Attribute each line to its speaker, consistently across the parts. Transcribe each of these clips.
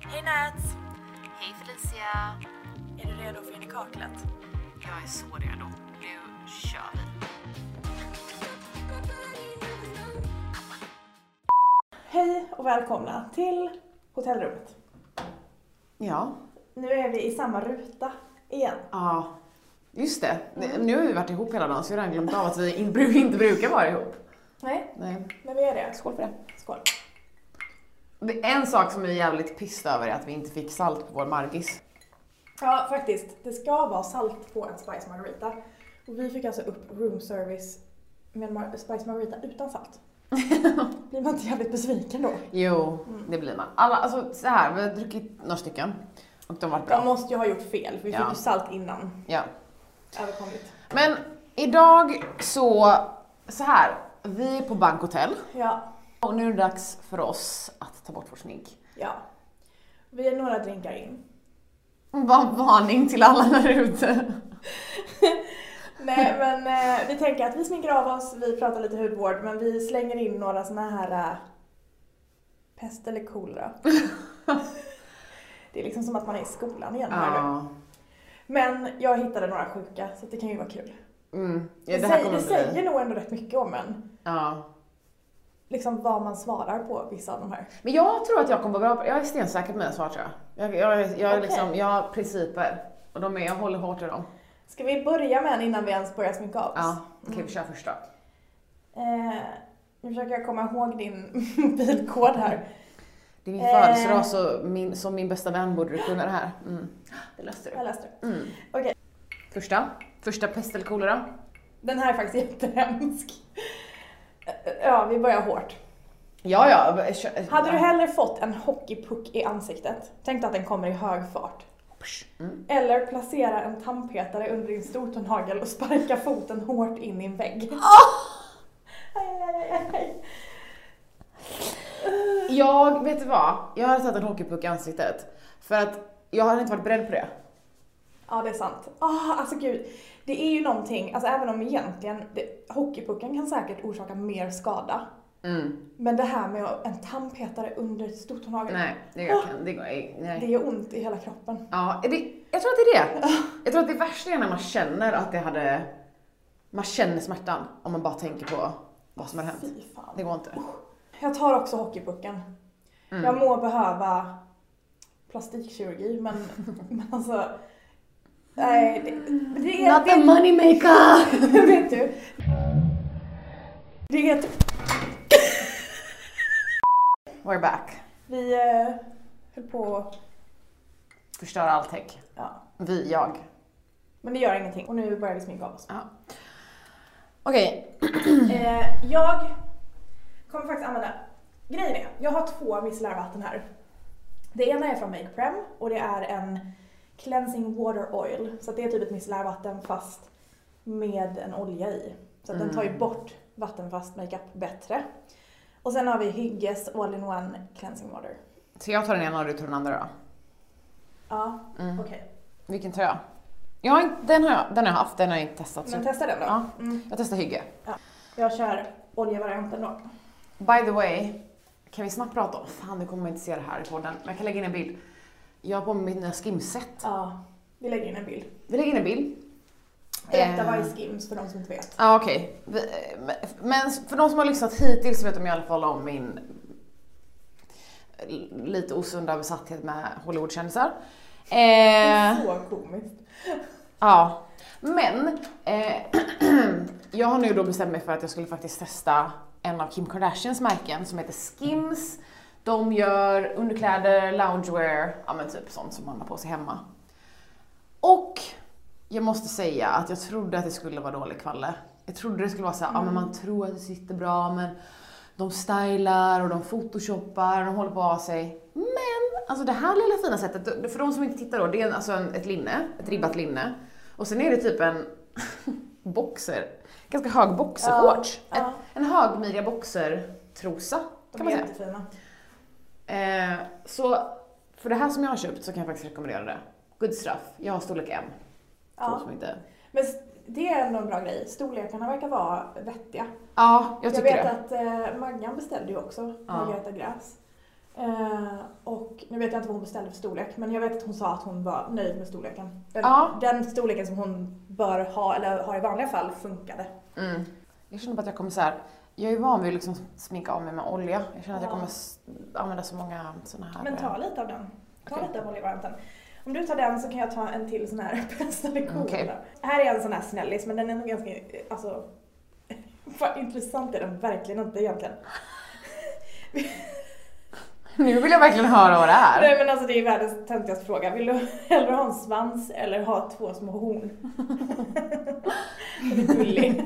Speaker 1: Hej Nat!
Speaker 2: Hej Felicia!
Speaker 1: Är du redo för in i kaklet?
Speaker 2: Jag är så redo. Nu kör vi!
Speaker 1: Hej och välkomna till hotellrummet.
Speaker 3: Ja,
Speaker 1: Nu är vi i samma ruta igen.
Speaker 3: ja. Just det. Nu har vi varit ihop hela dagen så jag har redan glömt av att vi in- bru- inte brukar vara ihop.
Speaker 1: Nej,
Speaker 3: Nej.
Speaker 1: men vi är det.
Speaker 3: Skål för det.
Speaker 1: Skål.
Speaker 3: det. är En sak som vi är jävligt pissed över är att vi inte fick salt på vår margis.
Speaker 1: Ja, faktiskt. Det ska vara salt på en spice margarita. Och vi fick alltså upp room service med en mar- spice margarita utan salt. Blir man inte jävligt besviken då?
Speaker 3: Jo, det blir man. Alla, alltså så här, vi har druckit några stycken och de har varit
Speaker 1: Jag
Speaker 3: bra.
Speaker 1: måste ju ha gjort fel, för vi
Speaker 3: Ja.
Speaker 1: fick ju salt innan
Speaker 3: Ja.
Speaker 1: överkomligt.
Speaker 3: Men idag så, så här. Vi är på bankhotell
Speaker 1: Ja,
Speaker 3: och nu är det dags för oss att ta bort vår snigg.
Speaker 1: ja. Vi är några drinkar in.
Speaker 3: Bara en varning till alla där ute.
Speaker 1: Nej men eh, vi tänker att vi sminkar av oss, vi pratar lite hudvård men vi slänger in några såna här eh, pest eller kolera. det är liksom som att man är i skolan igen. hör du.
Speaker 3: Ja.
Speaker 1: Men jag hittade några sjuka så det kan ju vara kul.
Speaker 3: Mm. Ja,
Speaker 1: Det,
Speaker 3: det här
Speaker 1: säger,
Speaker 3: kommer
Speaker 1: det
Speaker 3: att bli...
Speaker 1: säger nog ändå rätt mycket om en.
Speaker 3: Ja.
Speaker 1: Liksom vad man svarar på vissa av de här.
Speaker 3: Men jag tror att jag kommer vara bra på, jag är stensäker på mina svar tror jag. Jag, jag, jag, är
Speaker 1: Okej.
Speaker 3: liksom, jag har principer och de är, jag håller hårt i dem.
Speaker 1: Ska vi börja med en innan vi ens börjar sminka av oss?
Speaker 3: Ja, okej
Speaker 1: Mm.
Speaker 3: vi kör första.
Speaker 1: Eh, nu försöker jag komma ihåg din mobilkod här.
Speaker 3: Det är min
Speaker 1: Eh.
Speaker 3: födelsedag så min, som min bästa vän borde du kunna det här. Mm. Det löste
Speaker 1: Jag
Speaker 3: du.
Speaker 1: läste det.
Speaker 3: Mm.
Speaker 1: Okej.
Speaker 3: Första. Första pest eller kolera.
Speaker 1: Mm. Den här är faktiskt jättehemsk. Ja, vi börjar hårt.
Speaker 3: Ja, ja. kö-
Speaker 1: Hade du hellre fått en hockeypuck i ansiktet, tänk dig att den kommer i hög fart,
Speaker 3: Mm.
Speaker 1: eller placera en tandpetare under din stortånagel och sparka foten hårt in i en vägg?
Speaker 3: Ah!
Speaker 1: Aj, aj, aj, aj.
Speaker 3: Jag, vet du vad? Jag hade tagit en hockeypuck i ansiktet. För att jag hade inte varit beredd på det.
Speaker 1: Ja, det är sant. Ah, alltså gud. Det är ju någonting, alltså även om egentligen, det, hockeypucken kan säkert orsaka mer skada.
Speaker 3: Mm.
Speaker 1: Men det här med att- en tandpetare under stortånageln,
Speaker 3: Nej, det
Speaker 1: Ah.
Speaker 3: jag kan. Det går ej. Nej.
Speaker 1: det gör ont i hela kroppen.
Speaker 3: Ja, är det, jag tror att det är det. Jag tror att det värsta är när man känner att det hade... Man känner smärtan om man bara tänker på vad som har hänt.
Speaker 1: Fy fan.
Speaker 3: Det går inte. Mm.
Speaker 1: Jag tar också hockeypucken. Jag må behöva plastikkirurgi men, men alltså... Nej, det, det är...
Speaker 3: Not the moneymaker!
Speaker 1: Det, vet du? Det är...
Speaker 3: We're back.
Speaker 1: Vi eh, höll på...
Speaker 3: Förstör all tech.
Speaker 1: Ja.
Speaker 3: Vi, jag.
Speaker 1: Men det gör ingenting och nu börjar vi sminka av oss.
Speaker 3: Okej,
Speaker 1: Eh, jag kommer faktiskt använda... Grejen är, jag har två micellärvatten här. Det ena är från Make Prem och det är en cleansing water oil. Så att det är typ ett micellärvatten fast med en olja i. Så att den tar
Speaker 3: Mm.
Speaker 1: ju bort vattenfast makeup bättre. Och sen har vi Hygges All-in-One cleansing water.
Speaker 3: så jag tar den ena och du tar den andra då.
Speaker 1: Ja,
Speaker 3: Mm.
Speaker 1: okej.
Speaker 3: Vilken tar jag? jag har inte, den, har jag, den har jag haft, den har jag inte testat. Så
Speaker 1: Men testa den då.
Speaker 3: Ja.
Speaker 1: Mm.
Speaker 3: jag testar hygge.
Speaker 1: Jag kör oljevarianten då.
Speaker 3: By the way, kan vi snabbt prata om... Fan, du kommer inte se det här i podden. Men jag kan lägga in en bild. Jag har på mig mina skimset.
Speaker 1: Ja, vi lägger in en bild.
Speaker 3: Vi lägger in en bild.
Speaker 1: Berätta
Speaker 3: Eh.
Speaker 1: vad är skims för de som inte vet.
Speaker 3: Ja okej. Vi- eh, men- Men för de som har lyssnat hittills så vet de i alla fall om min l- lite osunda besatthet med Hollywoodkändisar.
Speaker 1: Det
Speaker 3: Eh,
Speaker 1: är så komiskt.
Speaker 3: ja. Men eh, jag har nu då bestämt mig för att jag skulle faktiskt testa en av Kim Kardashians märken som heter Skims. De gör underkläder, loungewear, ja men typ sånt som man har på sig hemma. Och jag måste säga att jag trodde att det skulle vara dålig kvalle. Jag trodde det skulle vara så här, ja men man tror att det sitter bra men de stylar och de photoshoppar, de håller på att ha sig. Men alltså det här lilla fina sättet, för de som inte tittar då, det är en- alltså en, ett linne, ett ribbat linne. Och sen är det typ en boxer, ganska hög boxershorts.
Speaker 1: Ja, ja.
Speaker 3: En, en högmidja boxertrosa
Speaker 1: De
Speaker 3: kan
Speaker 1: är
Speaker 3: man säga.
Speaker 1: jättefina.
Speaker 3: Eh, så för det här som jag har köpt så kan jag faktiskt rekommendera det. Good stuff. Jag har storlek M. för de
Speaker 1: Ja.
Speaker 3: som inte...
Speaker 1: Men s- det är ändå en bra grej. Storlekarna verkar vara vettiga.
Speaker 3: Ja, jag tycker
Speaker 1: vet
Speaker 3: det.
Speaker 1: att eh, Maggan beställde ju också,
Speaker 3: Ja.
Speaker 1: Margareta Gräs. Eh, och Nu vet jag inte vad hon beställde för storlek men jag vet att hon sa att hon var nöjd med storleken. Den,
Speaker 3: Ja.
Speaker 1: den storleken som hon bör ha eller har i vanliga fall funkade.
Speaker 3: Mm. Jag känner bara att jag kommer så här. jag är van vid att liksom sminka av mig med olja. Jag känner att jag
Speaker 1: Ja.
Speaker 3: kommer s- använda så många såna här...
Speaker 1: Men ta
Speaker 3: eh,
Speaker 1: lite av den. Ta
Speaker 3: Okej.
Speaker 1: lite av oljevarianten. Om du tar den så kan jag ta en till sån här pressade
Speaker 3: Okej.
Speaker 1: Här är en sån här snällis men den är nog ganska, eh, alltså, vad intressant är den verkligen inte egentligen.
Speaker 3: Nu vill jag verkligen höra vad det är.
Speaker 1: Nej men alltså det är världens töntigaste fråga. Vill du hellre ha en svans eller ha två små horn? Den är gullig.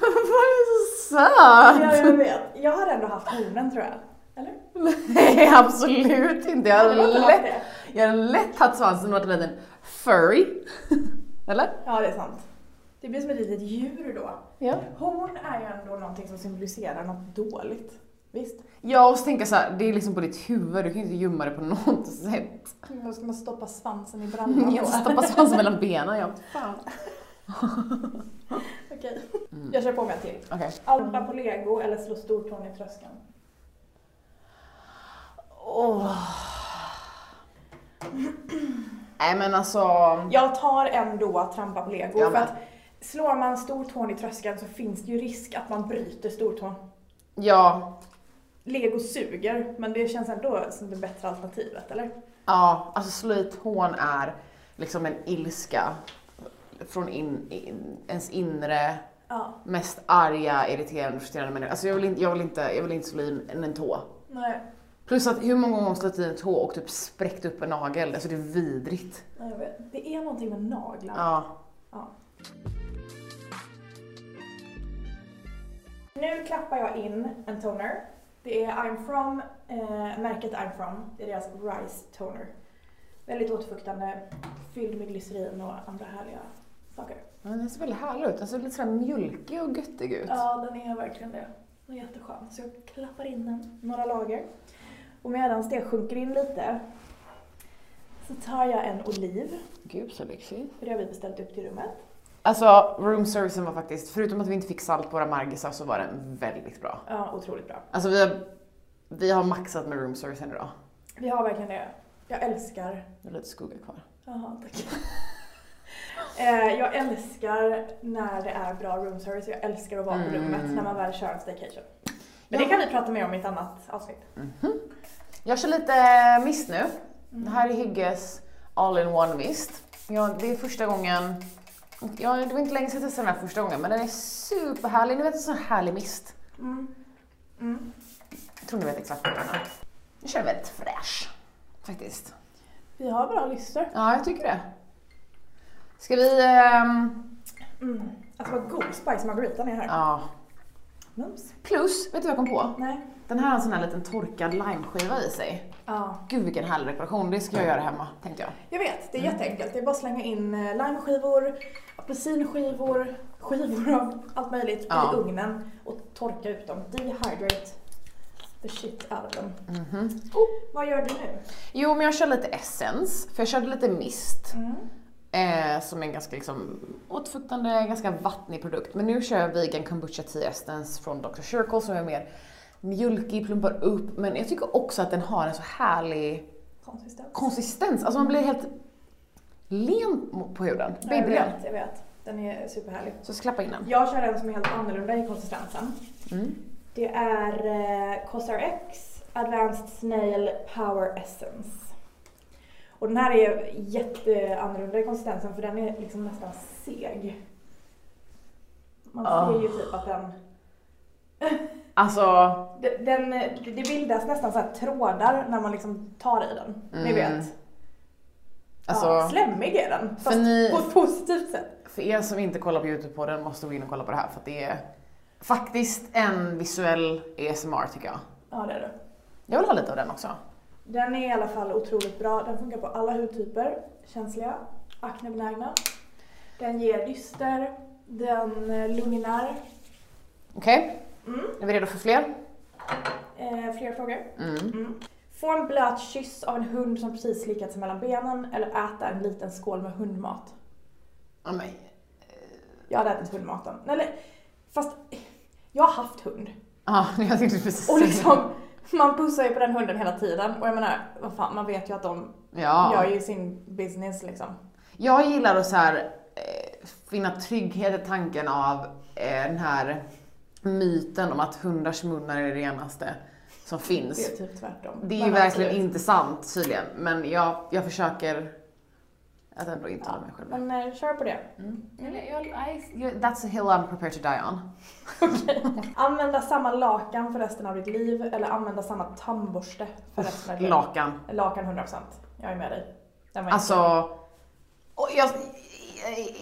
Speaker 3: Vad är så söt!
Speaker 1: Ja, jag vet. Jag hade ändå haft hornen tror jag. Eller?
Speaker 3: Nej, absolut inte. Jag hade
Speaker 1: Hade du inte haft
Speaker 3: lätt,
Speaker 1: det?
Speaker 3: jag hade lätt tagit svansen och varit en liten furry. Eller?
Speaker 1: Ja det är sant. Det blir som ett litet djur då.
Speaker 3: Ja.
Speaker 1: Horn är ju ändå någonting som symboliserar något dåligt. Visst?
Speaker 3: Ja, och så tänker jag så här, det är liksom på ditt huvud, du kan ju inte gömma det på något sätt.
Speaker 1: Då ska man stoppa svansen i brallan.
Speaker 3: Mm. Jag stoppar svansen mellan benen, jag. Fan.
Speaker 1: Okej. Jag kör på mig en till.
Speaker 3: Mm. Okej.
Speaker 1: Alla på lego eller slå stortån i tröskeln.
Speaker 3: Åh. Nej men alltså...
Speaker 1: Jag tar ändå att trampa på lego
Speaker 3: Jag
Speaker 1: för
Speaker 3: med.
Speaker 1: att slår man stortån i tröskeln så finns det ju risk att man bryter stortån.
Speaker 3: Ja.
Speaker 1: Lego suger, men det känns ändå som det bättre alternativet, eller?
Speaker 3: Ja, alltså slå i tån är liksom en ilska från in, in, ens inre
Speaker 1: Ja.
Speaker 3: mest arga, irriterande, frustrerande människa. Alltså jag vill inte, jag vill inte, jag vill inte slå i en, en tå.
Speaker 1: Nej,
Speaker 3: Plus att hur många gånger har hon slagit i en tå och typ spräckt upp en nagel? Alltså det är vidrigt.
Speaker 1: nej, jag vet. Det är någonting med naglar.
Speaker 3: Ja.
Speaker 1: Ja. Nu klappar jag in en toner. Det är I'm from, eh, märket I'm from. Det är deras Rice Toner. Väldigt återfuktande, fylld med glycerin och andra härliga saker.
Speaker 3: Men den ser väldigt härlig ut. Den ser lite sådär mjölkig och göttig ut.
Speaker 1: Ja, den är verkligen det. Den är jätteskön. Så jag klappar in den några lager. Och medan det sjunker in lite så tar jag en oliv,
Speaker 3: Gud så lyxig.
Speaker 1: för det har vi beställt upp till rummet.
Speaker 3: Alltså roomservicen var faktiskt, förutom att vi inte fick salt på våra margisar så var den väldigt bra.
Speaker 1: Ja, otroligt bra.
Speaker 3: Alltså vi har, vi har maxat med roomservicen idag.
Speaker 1: Vi har verkligen det. Jag älskar...
Speaker 3: Det är lite skugga kvar.
Speaker 1: Jaha, tack. Eh, jag älskar när det är bra room service. Jag älskar att vara på
Speaker 3: Mm.
Speaker 1: rummet när man väl kör en staycation. Men det kan vi prata mer om i ett annat avsnitt.
Speaker 3: Mhm. Jag kör lite mist nu.
Speaker 1: Mm.
Speaker 3: Det här är Hygges all-in-one mist. Ja, det är första gången, ja, det var inte länge sedan jag testade den här första gången men den är superhärlig. Ni vet en sån härlig mist.
Speaker 1: Mm. Mm.
Speaker 3: Jag tror ni vet exakt vad den är. Jag känner väldigt fräsch faktiskt.
Speaker 1: Vi har bra listor.
Speaker 3: Ja, jag tycker det. Ska vi... ehm,
Speaker 1: Mm. Alltså vad god spice margaritan är här.
Speaker 3: ja.
Speaker 1: Mums.
Speaker 3: Plus, vet du vad jag kom på?
Speaker 1: Nej.
Speaker 3: Den här har en sån här liten torkad limeskiva i sig.
Speaker 1: Ja.
Speaker 3: Gud vilken härlig dekoration, det ska jag göra hemma tänkte jag.
Speaker 1: Jag vet, det är jätteenkelt. Det är bara att slänga in eh, limeskivor, apelsinskivor, skivor av allt möjligt
Speaker 3: Ja.
Speaker 1: i ugnen och torka ut dem. Dehydrate the shit out of them.
Speaker 3: Mhm.
Speaker 1: Vad gör du nu?
Speaker 3: Jo men jag kör lite essens, för jag körde lite mist.
Speaker 1: Mm.
Speaker 3: Eh, som är en ganska liksom åtfuktande, ganska vattnig produkt. Men nu kör jag vegan kombucha tea essence från Dr. Circle som är mer mjölkig, plumpar upp. Men jag tycker också att den har en så härlig
Speaker 1: Konsistens?
Speaker 3: konsistens. Alltså man blir helt len på huden.
Speaker 1: Ja, Jag
Speaker 3: Babylän.
Speaker 1: vet, jag vet. Den är superhärlig.
Speaker 3: Så jag ska klappa in den.
Speaker 1: Jag kör en som är helt annorlunda i konsistensen.
Speaker 3: Mm.
Speaker 1: Det är eh, CosRX Advanced Snail Power Essence. Och den här är jätteannorlunda i konsistensen för den är liksom nästan seg. Man
Speaker 3: Ah.
Speaker 1: ser ju typ att den,
Speaker 3: Alltså,
Speaker 1: de- den... Det bildas nästan så här trådar när man liksom tar i den. Ni
Speaker 3: Mm.
Speaker 1: vet.
Speaker 3: alltså
Speaker 1: ja, slemmig är den.
Speaker 3: för
Speaker 1: Fast
Speaker 3: ni-
Speaker 1: på ett positivt sätt.
Speaker 3: För er som inte kollar på Youtube-podden måste gå in och kolla på det här för att det är faktiskt en visuell ASMR tycker jag.
Speaker 1: Ja det är det.
Speaker 3: Jag vill ha lite av den också.
Speaker 1: Den är i alla fall otroligt bra. Den funkar på alla hudtyper. Känsliga, aknebenägna. Den ger dyster, den eh, lugnar.
Speaker 3: Okej,
Speaker 1: Mm.
Speaker 3: är vi redo för fler?
Speaker 1: Eh, fler frågor?
Speaker 3: Mm.
Speaker 1: Mm. Få en blöt kyss av en hund som precis slickat sig mellan benen eller äta en liten skål med hundmat.
Speaker 3: Ja, men,
Speaker 1: Jag hade ätit hundmaten. Eller, fast jag har haft hund.
Speaker 3: ah, jag tänkte precis
Speaker 1: Och
Speaker 3: säga det.
Speaker 1: liksom, Man pussar ju på den hunden hela tiden och jag menar, vad fan, man vet ju att de
Speaker 3: Ja.
Speaker 1: gör ju sin business liksom.
Speaker 3: Jag gillar att så här, eh, finna trygghet i tanken av eh, den här myten om att hundars munnar är det renaste som finns.
Speaker 1: Det är typ tvärtom.
Speaker 3: Det är ju
Speaker 1: Men
Speaker 3: verkligen
Speaker 1: absolut.
Speaker 3: inte sant tydligen, men jag, jag försöker att ändå inte
Speaker 1: Ja,
Speaker 3: hålla mig själv.
Speaker 1: men eh, kör på det.
Speaker 3: Eller, jag- I- That's a hill I'm prepared to die on.
Speaker 1: Använda samma lakan för resten av ditt liv eller använda samma tandborste för resten av ditt liv.
Speaker 3: Lakan.
Speaker 1: Lakan 100%. Jag är med dig. Den var
Speaker 3: Alltså, och jag,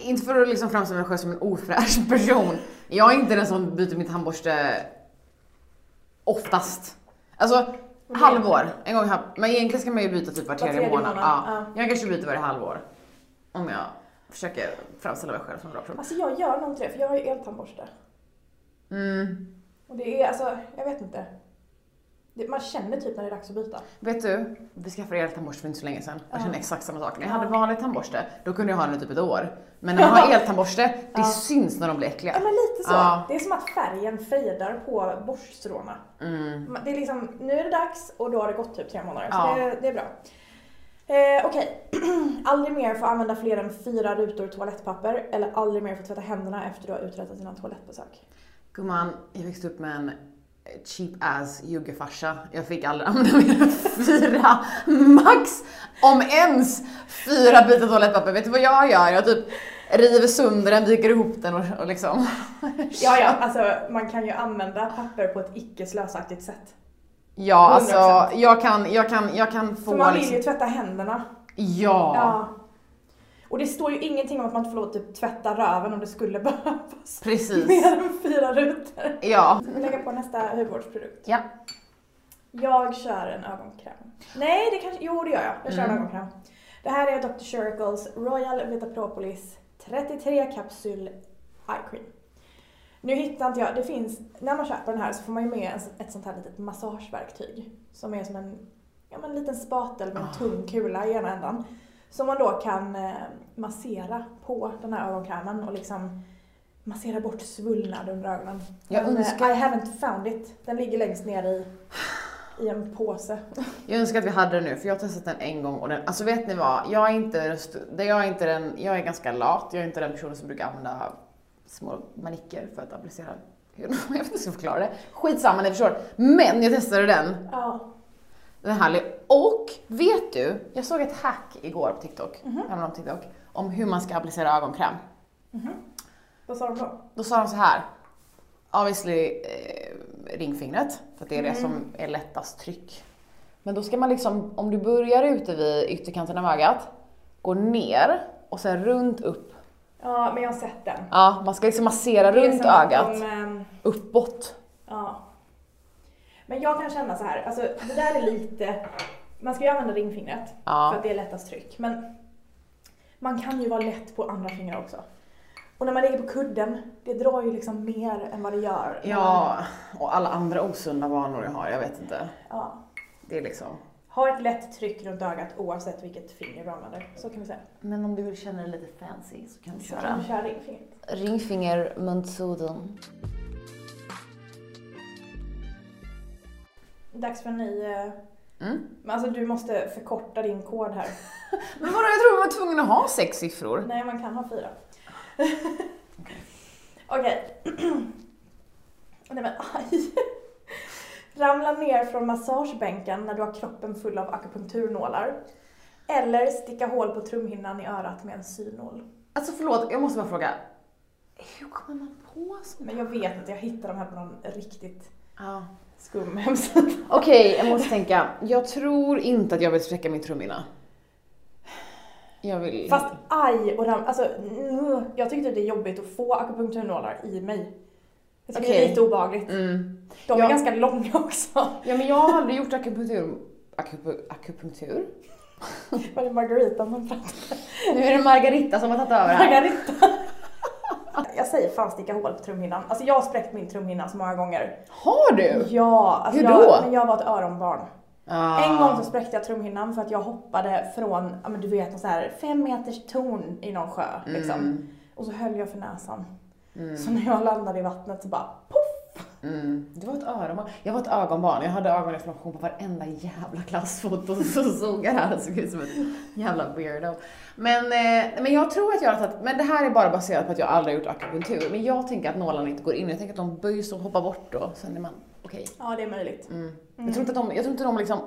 Speaker 3: inte för att liksom framställa mig själv som en ofräsch person. Jag är inte den som byter min tandborste oftast. Alltså,
Speaker 1: Okej.
Speaker 3: halvår. En gång i halv- Men egentligen ska man ju byta typ var tredje,
Speaker 1: tredje
Speaker 3: månad.
Speaker 1: månad,
Speaker 3: Ja. Jag kanske byter varje halvår. Om jag försöker framställa mig själv som en bra person.
Speaker 1: Alltså jag gör nog inte det för jag har ju eltandborste.
Speaker 3: Mm.
Speaker 1: Och det är alltså, jag vet inte. Det, man känner typ när det är dags att byta.
Speaker 3: Vet du, vi skaffade eltandborste för inte så länge sedan. Jag
Speaker 1: Ja.
Speaker 3: kände exakt samma sak. När jag
Speaker 1: Ja.
Speaker 3: hade vanlig tandborste, då kunde jag ha den i typ ett år. Men när man har eltandborste, det
Speaker 1: Ja.
Speaker 3: syns när de blir äckliga.
Speaker 1: Ja men lite så.
Speaker 3: Ja.
Speaker 1: Det är som att färgen fejdar på borststråna.
Speaker 3: Mm.
Speaker 1: Man- Det är liksom, nu är det dags och då har det gått typ tre månader.
Speaker 3: Ja.
Speaker 1: Så det, det är bra. Eh, Okej. aldrig mer få använda fler än fyra rutor toalettpapper eller aldrig mer få tvätta händerna efter du har uträttat dina toalettbesök.
Speaker 3: Gumman, jag växte upp med en cheap ass juggefarsa. Jag fick aldrig använda mer än fyra, max om ens fyra bitar toalettpapper. Vet du vad jag gör? Jag typ river sönder den, viker ihop den och, och liksom...
Speaker 1: Ja, ja, alltså man kan ju använda papper på ett icke slösaktigt sätt.
Speaker 3: Ja, alltså
Speaker 1: 100%.
Speaker 3: jag kan, jag kan, jag kan
Speaker 1: För
Speaker 3: få
Speaker 1: man vill
Speaker 3: liksom...
Speaker 1: ju tvätta händerna.
Speaker 3: Ja.
Speaker 1: Ja. Och det står ju ingenting om att man inte får lov att typ tvätta röven om det skulle behövas.
Speaker 3: precis.
Speaker 1: Mer än fyra rutor.
Speaker 3: Ja.
Speaker 1: Lägga på nästa hudvårdsprodukt.
Speaker 3: Ja.
Speaker 1: Jag kör en ögonkräm. Nej, det kanske... Jo, det gör jag. Jag kör en
Speaker 3: Mm.
Speaker 1: ögonkräm. Det här är Dr. Circles Royal Vitapropolis 33 kapsyl eye cream. Nu hittar inte jag... Det finns... När man köper den här så får man ju med en- ett sånt här litet massageverktyg. Som är som en, ja, men en liten spatel med en
Speaker 3: Ah.
Speaker 1: tung kula i ena änden. Som man då kan eh, massera på den här ögonkrämen och liksom massera bort svullnad under ögonen.
Speaker 3: Jag
Speaker 1: Men, eh,
Speaker 3: önskar-
Speaker 1: I haven't found it. Den ligger längst ner i, i en påse.
Speaker 3: Jag önskar att vi hade den nu, för jag har testat den en gång och den, alltså vet ni vad? Jag är inte, den st- det- jag är inte den, jag är ganska lat, jag är inte den personen som brukar använda små manicker för att applicera jag vet inte hur jag ska förklara det. Skitsamma, ni förstår. Men jag testade den.
Speaker 1: Ja.
Speaker 3: Den är härlig. Och vet du? Jag såg ett hack igår på TikTok,
Speaker 1: Mhm.
Speaker 3: även om TikTok, om hur man ska applicera ögonkräm.
Speaker 1: Mhm. Vad sa de då?
Speaker 3: Då sa de så här. Obviously eh, ringfingret, för att det är det som är lättast tryck. Men då ska man liksom, om du börjar ute vid ytterkanten av ögat, gå ner och sen runt upp.
Speaker 1: Ja, men jag har sett den.
Speaker 3: Ja, man ska liksom massera
Speaker 1: Det är
Speaker 3: runt
Speaker 1: som att
Speaker 3: ögat,
Speaker 1: de, ehm,
Speaker 3: uppåt.
Speaker 1: ja. Men jag kan känna så här, alltså det där är lite... Man ska ju använda ringfingret för
Speaker 3: Ja.
Speaker 1: att det är lättast tryck. Men man kan ju vara lätt på andra fingrar också. Och när man ligger på kudden, det drar ju liksom mer än vad det gör.
Speaker 3: ja, och alla andra osunda vanor jag har, jag vet inte.
Speaker 1: ja.
Speaker 3: Det är liksom.
Speaker 1: Ha ett lätt tryck runt ögat oavsett vilket finger du använder. Så kan vi säga.
Speaker 3: Men om du vill känna dig lite fancy så kan du
Speaker 1: Så kan du köra ringfingret.
Speaker 3: Ringfinger, munsudden.
Speaker 1: Dags för en ny... eh,
Speaker 3: Mm.
Speaker 1: Men alltså du måste förkorta din kod här.
Speaker 3: Men vadå, jag tror man var tvungen att ha sex siffror.
Speaker 1: Nej, man kan ha fyra. Okej. Nej men aj. Ramla ner från massagebänken när du har kroppen full av akupunkturnålar. Eller sticka hål på trumhinnan i örat med en synål.
Speaker 3: Alltså förlåt, jag måste bara fråga. Hur kommer man på sånt?
Speaker 1: Men jag vet inte, jag hittade de här på någon riktigt
Speaker 3: Ja.
Speaker 1: skum hemsida.
Speaker 3: Okej, jag måste tänka. Jag tror inte att jag vill spräcka min trumhinna. Jag vill...
Speaker 1: Fast aj och ram, alltså mm, jag tyckte det är jobbigt att få akupunkturnålar i mig. Jag tycker det är
Speaker 3: Okej.
Speaker 1: lite obehagligt.
Speaker 3: Mm.
Speaker 1: De
Speaker 3: Ja.
Speaker 1: är ganska långa också.
Speaker 3: Ja, men jag har aldrig gjort akupunktur. Akupu... Akupunktur?
Speaker 1: Var det Margarita som pratade?
Speaker 3: Nu är det Margarita som har tagit över här.
Speaker 1: Margarita! Jag säger fan sticka hål på trumhinnan. Alltså jag har spräckt min trumhinna så många gånger.
Speaker 3: Har du?
Speaker 1: Ja! Alltså
Speaker 3: Hur då?
Speaker 1: Jag, men jag var ett öronbarn.
Speaker 3: Ah.
Speaker 1: En gång så spräckte jag trumhinnan för att jag hoppade från, ja men du vet, någon så här fem meters torn i någon sjö liksom.
Speaker 3: Mm.
Speaker 1: Och så höll jag för näsan.
Speaker 3: Mm.
Speaker 1: Så när jag landade i vattnet så bara poff!
Speaker 3: Mm. Du var ett öronbarn. Jag var ett ögonbarn. Jag hade ögoninflammation på varenda jävla klassfoto. Så såg jag det här och såg ut som ett jävla weirdo. Men, eh, men jag tror att jag har tagit, men det här är bara baserat på att jag aldrig har gjort akupunktur. Men jag tänker att nålarna inte går in. Jag tänker att de böjs och hoppar bort då. Sen är man okej.
Speaker 1: Ja, det är möjligt.
Speaker 3: Mm. Jag tror inte att de, jag tror inte de liksom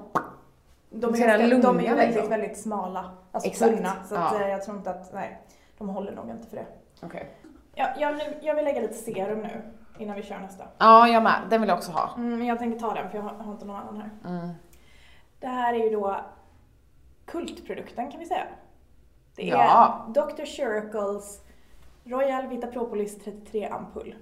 Speaker 1: De är,
Speaker 3: Ser den
Speaker 1: ganska, de är
Speaker 3: lunga
Speaker 1: ju väldigt,
Speaker 3: liksom?
Speaker 1: väldigt smala. Alltså
Speaker 3: Exakt.
Speaker 1: tunna. Så att,
Speaker 3: Ja.
Speaker 1: eh, jag tror inte att, nej. De håller nog inte för det.
Speaker 3: Okej.
Speaker 1: Ja, jag, nu, jag vill lägga lite serum nu innan vi kör nästa.
Speaker 3: Ja, jag med. Den vill jag också ha.
Speaker 1: Mm, men jag tänker ta den för jag har, har inte någon annan här.
Speaker 3: Mm.
Speaker 1: Det här är ju då kultprodukten kan vi säga. Det är
Speaker 3: Ja.
Speaker 1: Dr. Circles Royal Vita Propolis 33 ampull.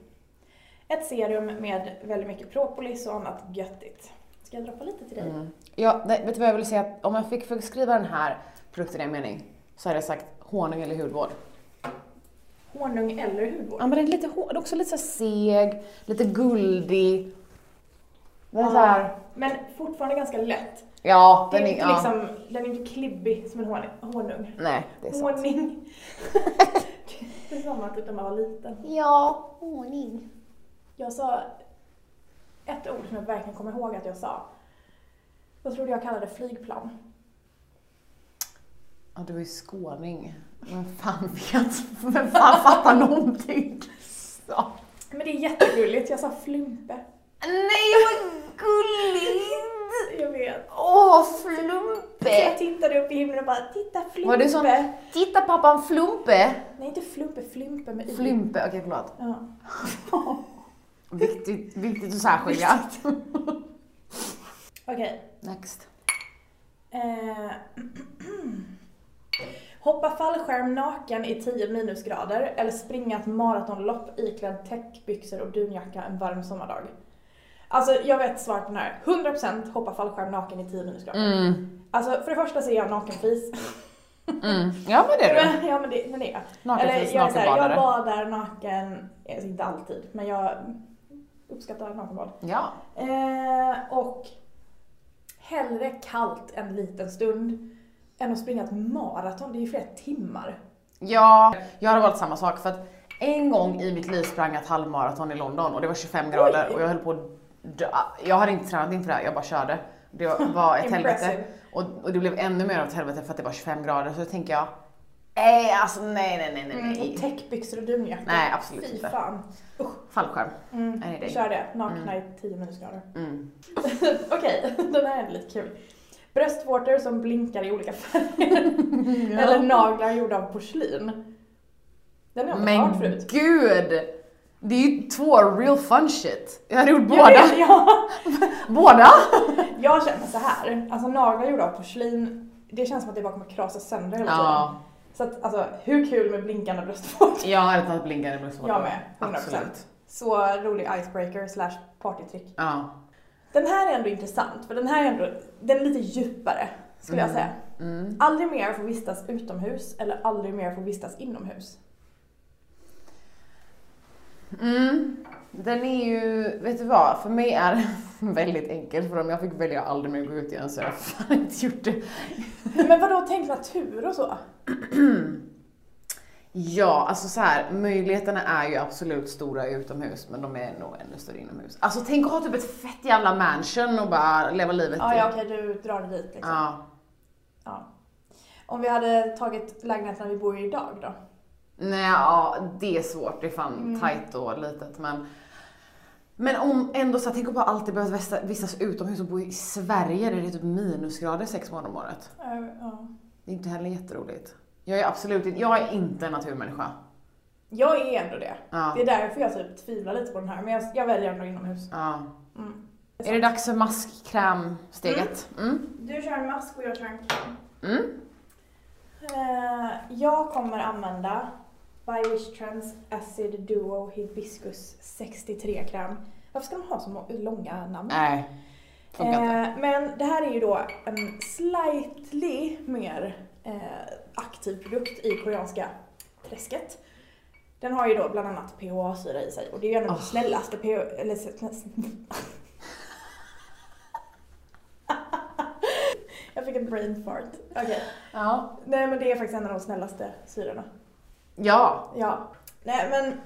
Speaker 1: Ett serum med väldigt mycket propolis och annat göttigt. Ska jag droppa lite till dig?
Speaker 3: Mm. Ja, nej, vet du vad jag vill säga? Att Om jag fick förskriva den här produkten i en mening så hade jag sagt honung eller hudvård.
Speaker 1: Honung eller hudvård?
Speaker 3: Ja, men den är lite hård, också lite så här seg, lite guldig. Den är
Speaker 1: Ja.
Speaker 3: så här,
Speaker 1: Men fortfarande ganska lätt.
Speaker 3: ja,
Speaker 1: Den
Speaker 3: den
Speaker 1: är,
Speaker 3: är,
Speaker 1: inte,
Speaker 3: ja.
Speaker 1: liksom, den är inte klibbig som en honung. honung.
Speaker 3: Nej, det är sant.
Speaker 1: Honung. det är samma typ när man var liten.
Speaker 3: Ja, honung.
Speaker 1: Jag sa ett ord som jag verkligen kommer ihåg att jag sa. Jag trodde jag kallade det flygplan.
Speaker 3: Ja, du är ju skåning. Vem fan vet? Vem fan fattar någonting? Så.
Speaker 1: Men det är jättegulligt, jag sa flumpe.
Speaker 3: Nej, vad gulligt!
Speaker 1: Jag vet.
Speaker 3: Åh,
Speaker 1: Så jag
Speaker 3: flumpe!
Speaker 1: tittade upp i himlen och bara, titta flumpe.
Speaker 3: Var det sån- Titta pappa, en flumpe!
Speaker 1: Nej, inte flumpe, flumpe med i.
Speaker 3: Flumpe, okej förlåt.
Speaker 1: Ja.
Speaker 3: Viktigt, viktigt att särskilja.
Speaker 1: Okej.
Speaker 3: Next.
Speaker 1: Eh, Hoppa fallskärm naken i 10 minusgrader eller springa ett maratonlopp iklädd täckbyxor och dunjacka en varm sommardag. Alltså jag vet svaret på den här. 100% hoppa fallskärm naken i 10 minusgrader.
Speaker 3: Mm,
Speaker 1: Alltså för det första så är jag nakenfis.
Speaker 3: mm. Ja men det är du.
Speaker 1: Men, ja men det, men det är jag.
Speaker 3: Nakenfis,
Speaker 1: jag, är så här, jag
Speaker 3: nakenbadare.
Speaker 1: badar naken, alltså inte alltid, men jag uppskattar nakenbad.
Speaker 3: Ja.
Speaker 1: Eh, och hellre kallt en liten stund än att springa ett maraton, det är ju flera timmar.
Speaker 3: ja, jag hade valt samma sak för att en gång i mitt liv sprang jag ett halvmaraton i London och det var 25 grader
Speaker 1: Oj.
Speaker 3: och jag höll på att dö. Jag hade inte tränat inför det här, jag bara körde. Det var ett helvete.
Speaker 1: Impressive.
Speaker 3: Och, och det blev ännu mer av ett helvete för att det var 25 grader så då tänker jag, nej alltså nej nej nej nej.
Speaker 1: Mm,
Speaker 3: nej.
Speaker 1: och täckbyxor och dunjacka.
Speaker 3: Nej, absolut
Speaker 1: Fy
Speaker 3: inte.
Speaker 1: fan.
Speaker 3: Fallskärm.
Speaker 1: Mm,
Speaker 3: Nej, nej.
Speaker 1: Kör det, nakna i 10 minusgrader.
Speaker 3: Mm.
Speaker 1: Okej, den här är lite kul. Bröstvårtor som blinkar i olika färger. Eller naglar gjorda av porslin. Den har jag inte hört
Speaker 3: Men
Speaker 1: förut.
Speaker 3: gud! Det är ju två real fun shit. Jag hade gjort
Speaker 1: Jag
Speaker 3: båda.
Speaker 1: vet, ja.
Speaker 3: Båda?
Speaker 1: Jag känner så här. Alltså naglar gjorda av porslin, det känns som att det bara kommer krasa sönder hela tiden.
Speaker 3: Ja,
Speaker 1: Så att alltså, hur kul med blinkande bröstvårtor?
Speaker 3: jag hade tagit blinkande bröstvårtor.
Speaker 1: Jag med, 100%.
Speaker 3: Absolut.
Speaker 1: Så rolig icebreaker slash partytrick.
Speaker 3: Ja.
Speaker 1: Den här är ändå intressant, för den här är ändå, den är lite djupare skulle jag säga.
Speaker 3: Mm.
Speaker 1: Aldrig mer få vistas utomhus eller aldrig mer få vistas inomhus.
Speaker 3: Mm. Den är ju, vet du vad? För mig är den väldigt enkel för om jag fick välja att aldrig mer gå ut igen så hade jag fan inte gjort det.
Speaker 1: Men vadå, tänk natur och så?
Speaker 3: Ja, alltså så här, möjligheterna är ju absolut stora utomhus men de är nog ännu större inomhus. Alltså tänk att ha typ ett fett jävla mansion och bara leva livet
Speaker 1: Ja,
Speaker 3: i.
Speaker 1: ja okej, du drar det dit liksom.
Speaker 3: ja.
Speaker 1: Ja. Om vi hade tagit lägenheten vi bor i idag då?
Speaker 3: Nej, ja, det är svårt. Det är fan
Speaker 1: Mm.
Speaker 3: tajt och litet. Men, men om ändå så här, tänk om bara alltid behöva västa- vistas utomhus och bo i Sverige där det är typ minusgrader sex månader om året.
Speaker 1: Eh, ja.
Speaker 3: Det är inte heller jätteroligt. Jag är absolut inte, jag är inte en naturmänniska.
Speaker 1: Jag är ändå det.
Speaker 3: Ja,
Speaker 1: Det är därför jag typ tvivlar lite på den här, men jag, jag väljer ändå inomhus.
Speaker 3: ja.
Speaker 1: Mm.
Speaker 3: Är det dags för maskkrämsteget? Mm.
Speaker 1: Du kör en mask och jag kör en kräm.
Speaker 3: Mm.
Speaker 1: Eh, jag kommer använda By Wish Trends Acid Duo Hibiscus 63 kräm. Varför ska de ha så må- långa namn?
Speaker 3: Nej, funkar inte.
Speaker 1: Eh, men det här är ju då en slightly mer eh, aktiv produkt i koreanska träsket. Den har ju då bland annat PHA-syra i sig och det är ju en av de
Speaker 3: Oh.
Speaker 1: snällaste PHA... Eller, s- s- Jag fick en brain fart. Okej.
Speaker 3: Ja.
Speaker 1: Nej men det är faktiskt en av de snällaste syrorna.
Speaker 3: ja,
Speaker 1: Ja. Nej men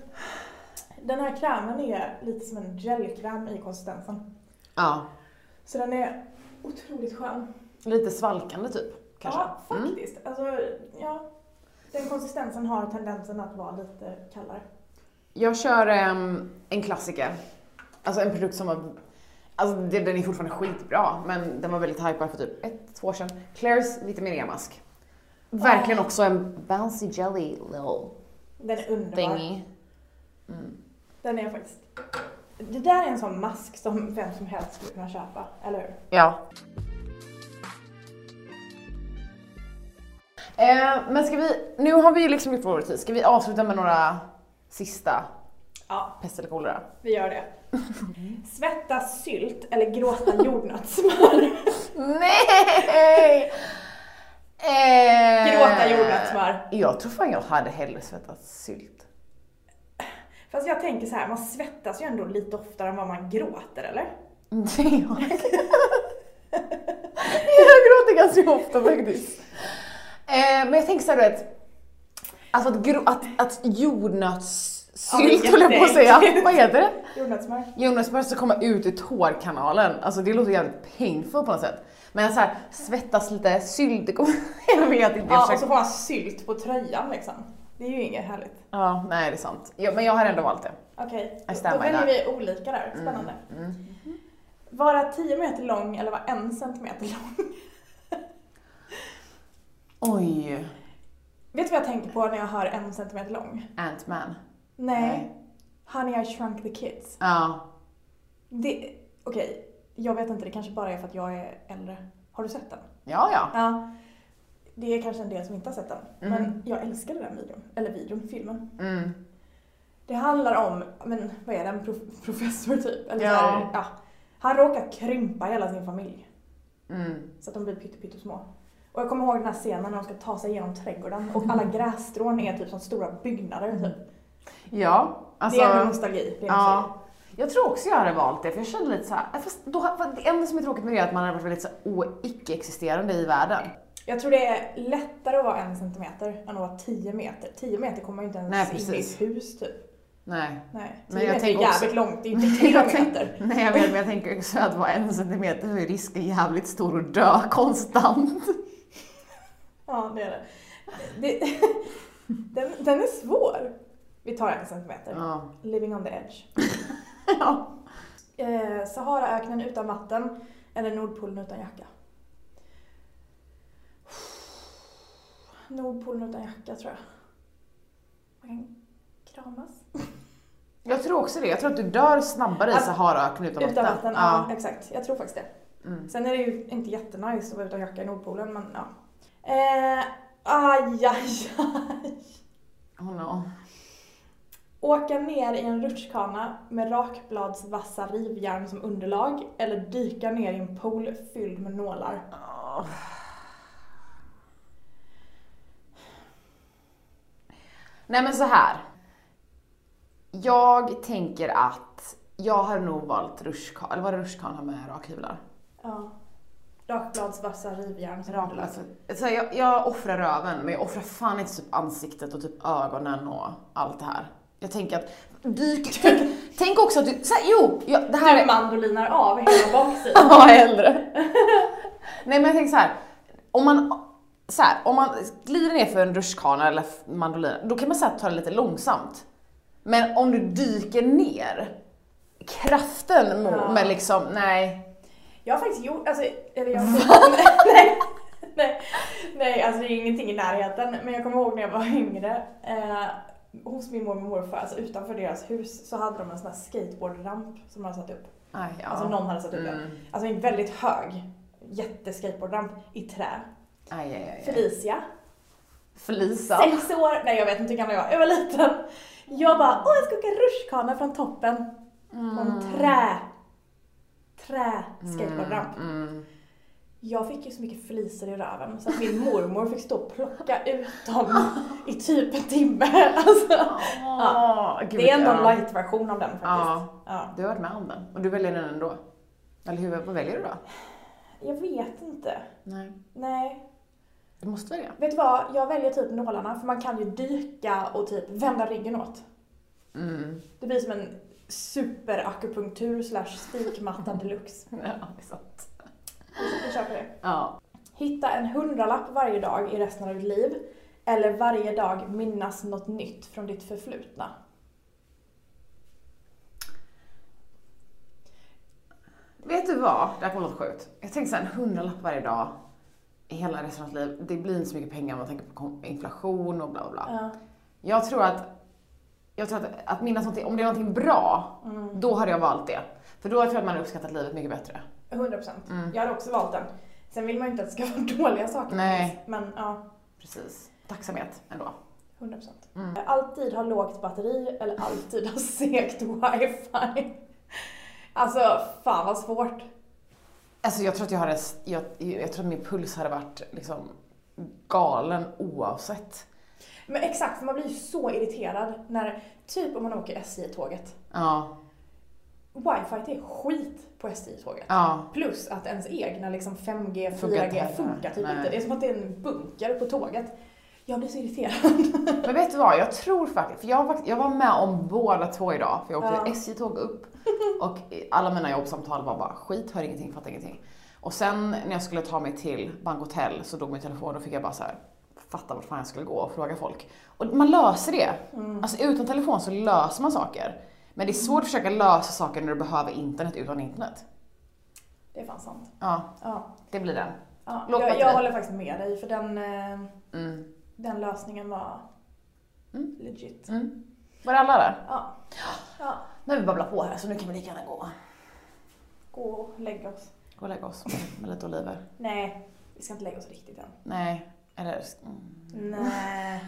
Speaker 1: Den här krämen är lite som en gelkräm i konsistensen.
Speaker 3: Ja.
Speaker 1: Så den är otroligt skön.
Speaker 3: Lite svalkande typ. Kanske.
Speaker 1: Ja,
Speaker 3: Mm.
Speaker 1: faktiskt. Alltså, ja. Den konsistensen har tendensen att vara lite kallare.
Speaker 3: Jag kör em, en klassiker. Alltså en produkt som var... Alltså det- den är fortfarande skitbra, men den var väldigt hypad för typ ett, två år sedan. Claire's vitamin E-mask. Verkligen
Speaker 1: Ah.
Speaker 3: också en bouncy jelly little
Speaker 1: Den är underbar.
Speaker 3: thingy. Mm.
Speaker 1: Den är faktiskt... Det där är en sån mask som vem som helst skulle kunna köpa, eller hur?
Speaker 3: Ja. Eh, men ska vi, nu har vi ju liksom gjort vår tid, ska vi avsluta med några sista
Speaker 1: Ja,
Speaker 3: pest eller kolera?
Speaker 1: vi gör det. Svettas sylt eller gråta jordnötssmör?
Speaker 3: Nej! Eh,
Speaker 1: Gråta jordnötssmör.
Speaker 3: Jag tror fan jag hade hellre svettat sylt.
Speaker 1: Fast jag tänker så här, man svettas ju ändå lite oftare än vad man gråter, eller?
Speaker 3: Det är jag. jag gråter ganska ofta faktiskt. Eh, men jag tänker såhär du vet, alltså att, gro- att, att jordnötssylt
Speaker 1: Ja,
Speaker 3: höll jag på att säga.
Speaker 1: jätteäckligt.
Speaker 3: Vad heter det?
Speaker 1: Jordnötssmör.
Speaker 3: Jordnötssmör som kommer ut ur tårkanalen. Alltså det låter jävligt painful på något sätt. Men såhär svettas lite, sylt, det kommer... jag vet inte.
Speaker 1: Ja,
Speaker 3: jag försöker-
Speaker 1: och så får man sylt på tröjan liksom. Det är ju inget härligt.
Speaker 3: Ja, nej det är sant. Ja, men jag har ändå valt det. Mm,
Speaker 1: Okej,
Speaker 3: I
Speaker 1: då
Speaker 3: stand by
Speaker 1: väljer
Speaker 3: that.
Speaker 1: vi olika där. Spännande. Vara 10 meter lång eller vara en centimeter lång?
Speaker 3: Oj,
Speaker 1: Vet du vad jag tänker på när jag hör en centimeter lång?
Speaker 3: Ant-Man.
Speaker 1: Nej.
Speaker 3: Nej.
Speaker 1: Honey I shrunk the kids.
Speaker 3: Ja.
Speaker 1: Det, okej, jag vet inte, det kanske bara är för att jag är äldre. Har du sett den?
Speaker 3: Ja, ja.
Speaker 1: Ja. Det är kanske en del som inte har sett den.
Speaker 3: Mm.
Speaker 1: Men jag älskade den videon, eller videon, filmen.
Speaker 3: Mm.
Speaker 1: Det handlar om, men vad är det, en prof- professor typ? Eller
Speaker 3: Ja.
Speaker 1: Så här, ja. Han råkar krympa hela sin familj.
Speaker 3: Mm.
Speaker 1: Så att de blir pytte- pyttesmå. Och jag kommer ihåg den här scenen när de ska ta sig genom trädgården och
Speaker 3: Mm.
Speaker 1: alla grässtrån är typ som stora byggnader. Typ.
Speaker 3: Ja, alltså.
Speaker 1: det är ändå nostalgi. Det är nostalgi.
Speaker 3: ja. Jag tror också jag hade valt det, för jag kände lite så här, äh, fast då, för det enda som är tråkigt med det är att man hade varit väldigt så här o- icke-existerande i världen.
Speaker 1: Jag tror det är lättare att vara en centimeter än att vara tio meter. Tio meter kommer man ju inte ens
Speaker 3: Nej,
Speaker 1: in i
Speaker 3: precis.
Speaker 1: ett hus typ.
Speaker 3: Nej.
Speaker 1: Nej,
Speaker 3: Men
Speaker 1: tio
Speaker 3: jag
Speaker 1: meter är
Speaker 3: tänker också-
Speaker 1: jävligt långt, det är inte tio
Speaker 3: Jag
Speaker 1: meter.
Speaker 3: Nej jag vet, men jag tänker också att vara en centimeter så är risken jävligt stor att dö konstant.
Speaker 1: Ja, det är det. det den, den är svår. Vi tar en centimeter.
Speaker 3: Ja.
Speaker 1: Living on the edge.
Speaker 3: ja.
Speaker 1: Eh, Saharaöknen utan vatten eller Nordpolen utan jacka? Nordpolen utan jacka tror jag. Man kan kramas.
Speaker 3: Jag tror också det, jag tror att du dör snabbare i
Speaker 1: Att-
Speaker 3: Saharaöknen utan
Speaker 1: Utan vatten, ja.
Speaker 3: Ja.
Speaker 1: exakt. Jag tror faktiskt det.
Speaker 3: Mm.
Speaker 1: Sen är det ju inte jättenice att vara utan jacka i Nordpolen men ja. Eh, aj, aj, aj.
Speaker 3: Oh no.
Speaker 1: Åka ner i en rutschkana med rakbladsvassa rivjärn som underlag eller dyka ner i en pool fylld med nålar.
Speaker 3: Ja. Nej men så här. Jag tänker att jag har nog valt rutschkana, eller var det rutschkana med rakhyvlar?
Speaker 1: Ja. Rakbladsvassa rivjärn som
Speaker 3: Rak,
Speaker 1: underlag.
Speaker 3: alltså, så här, jag, jag offrar röven, men jag offrar fan inte typ ansiktet och typ ögonen och allt det här. Jag tänker att, dyk, tänk, tänk också att du, så här, jo! Jag, det här
Speaker 1: Du
Speaker 3: är,
Speaker 1: mandolinar av hela baksidan.
Speaker 3: Ja, hellre. Nej men jag tänker så här. om man, så här, om man glider ner för en rutschkana eller mandolin, då kan man säga ta det lite långsamt. Men om du dyker ner, kraften mot,
Speaker 1: Ja.
Speaker 3: men liksom, nej.
Speaker 1: Jag har faktiskt gjort, alltså, eller jag nej, nej, nej, alltså det är ingenting i närheten. Men jag kommer ihåg när jag var yngre. Eh, hos min mormor och morfar, alltså utanför deras hus, så hade de en sån här skateboardramp som de hade satt upp.
Speaker 3: Aj, ja.
Speaker 1: Alltså någon hade satt upp den.
Speaker 3: Mm.
Speaker 1: Alltså en väldigt hög jätteskateboardramp i trä.
Speaker 3: Aj, aj, aj, aj.
Speaker 1: Felicia,
Speaker 3: Felisa.
Speaker 1: sex år, nej jag vet inte hur gammal jag var, jag var liten. Jag bara, åh jag ska åka rutschkana från toppen. På
Speaker 3: Mm.
Speaker 1: en trä, trä skateboardramp.
Speaker 3: Mm.
Speaker 1: Jag fick ju så mycket fliser i röven så att min mormor fick stå och plocka ut dem i typ en timme. Alltså,
Speaker 3: Åh, Ah, gud,
Speaker 1: det är ändå en
Speaker 3: ja.
Speaker 1: light-version av den faktiskt.
Speaker 3: Ja.
Speaker 1: Ja.
Speaker 3: Du har varit med om den och du väljer den ändå. Eller hur, vad väljer du då?
Speaker 1: Jag vet inte.
Speaker 3: Nej.
Speaker 1: Nej.
Speaker 3: Du måste välja.
Speaker 1: Vet du vad? Jag väljer typ nålarna för man kan ju dyka och typ vända ryggen åt.
Speaker 3: Mm.
Speaker 1: Det blir som en superakupunktur slash spikmatta deluxe.
Speaker 3: Ja, det är sant.
Speaker 1: Jag köper det.
Speaker 3: Ja.
Speaker 1: Hitta en hundralapp varje dag i resten av ditt liv. Eller varje dag minnas något nytt från ditt förflutna.
Speaker 3: Vet du vad? Det här kommer låta sjukt. Jag tänker såhär, en hundralapp varje dag i hela resten av mitt liv. Det blir inte så mycket pengar om man tänker på kom- inflation och bla bla bla.
Speaker 1: Ja.
Speaker 3: Jag tror att, jag tror att, att minnas någonting, om det är någonting bra,
Speaker 1: Mm.
Speaker 3: då hade jag valt det. För då tror jag att man hade uppskattat livet mycket bättre.
Speaker 1: 100%.
Speaker 3: Mm.
Speaker 1: Jag hade också valt den. Sen vill man ju inte att det ska vara dåliga saker.
Speaker 3: Nej.
Speaker 1: Men ja,
Speaker 3: Precis. Tacksamhet ändå.
Speaker 1: 100%.
Speaker 3: Mm.
Speaker 1: Alltid ha lågt batteri eller alltid ha segt wifi. Alltså, fan vad svårt.
Speaker 3: Alltså jag tror att jag hade, jag, jag tror att min puls hade varit liksom galen oavsett.
Speaker 1: Men exakt, för man blir ju så irriterad när, typ om man åker SJ-tåget.
Speaker 3: Ja,
Speaker 1: Wifi är skit på SJ-tåget.
Speaker 3: ja,
Speaker 1: Plus att ens egna liksom 5G, 4G
Speaker 3: Funkar
Speaker 1: funkar,
Speaker 3: inte heller.
Speaker 1: typ
Speaker 3: Nej.
Speaker 1: inte. Det är som att det är en bunker på tåget. Jag blir så irriterad.
Speaker 3: Men vet du vad, jag tror faktiskt, för jag, var fakt- jag var med om båda två idag, för jag åkte
Speaker 1: Ja.
Speaker 3: SJ-tåg upp och i- alla mina jobbsamtal var bara skit, hör ingenting, fattar ingenting. Och sen när jag skulle ta mig till Bank Hotel så dog min telefon och fick jag bara så här fatta vart fan jag skulle gå och fråga folk. Och man löser det.
Speaker 1: Mm.
Speaker 3: Alltså utan telefon så löser man saker. Men det är svårt att försöka lösa saker när du behöver internet utan internet.
Speaker 1: Det är fan sant.
Speaker 3: Ja,
Speaker 1: Ja.
Speaker 3: det blir den.
Speaker 1: ja.
Speaker 3: Lågt
Speaker 1: Jag,
Speaker 3: batteri.
Speaker 1: jag håller faktiskt med dig för den, eh,
Speaker 3: Mm.
Speaker 1: den lösningen var
Speaker 3: Mm.
Speaker 1: legit.
Speaker 3: Mm. Var det alla där?
Speaker 1: Ja. ja.
Speaker 3: Nu har vi babblat på här så nu kan vi lika gärna gå.
Speaker 1: Gå och lägga oss.
Speaker 3: Gå och lägga oss med- med lite oliver.
Speaker 1: Nej, vi ska inte lägga oss riktigt än.
Speaker 3: Nej, eller... mm.
Speaker 1: Nej.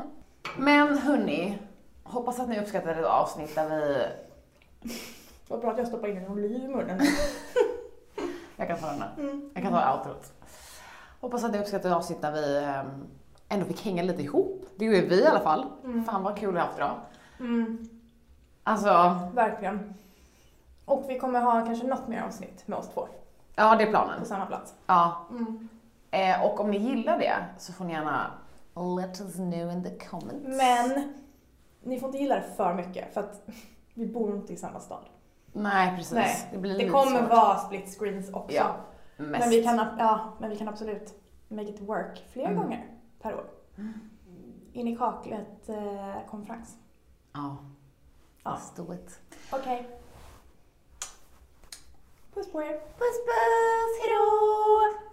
Speaker 3: Men hörni, hoppas att ni uppskattade ett avsnitt där vi...
Speaker 1: Vad bra att jag stoppar in en oliv i munnen.
Speaker 3: Jag kan ta den här. Jag
Speaker 1: Mm.
Speaker 3: kan ta outrot. Hoppas att ni uppskattade ett avsnitt där vi ehm, ändå fick hänga lite ihop. Det gjorde vi i alla fall.
Speaker 1: Mm.
Speaker 3: Fan vad kul vi har haft idag.
Speaker 1: Mm,
Speaker 3: Alltså,
Speaker 1: verkligen. Och vi kommer ha kanske något mer avsnitt med oss två
Speaker 3: ja det är
Speaker 1: på
Speaker 3: planen.
Speaker 1: samma plats.
Speaker 3: Ja.
Speaker 1: Mm.
Speaker 3: Eh, och om ni gillar det så får ni gärna let us know in the comments.
Speaker 1: Men ni får inte gilla det för mycket för att vi bor inte i samma stad.
Speaker 3: Nej precis.
Speaker 1: Nej,
Speaker 3: det blir
Speaker 1: Det
Speaker 3: lite
Speaker 1: kommer
Speaker 3: Mm, svårt.
Speaker 1: vara split screens också.
Speaker 3: Ja, mest.
Speaker 1: men, vi kan, ab- ja, men vi kan absolut make it work fler
Speaker 3: Mm.
Speaker 1: gånger per år. In i eh, kaklet-konferens.
Speaker 3: Ja.
Speaker 1: Ja.
Speaker 3: Let's do it.
Speaker 1: Okej. Puss på er.
Speaker 3: Puss puss, hejdå!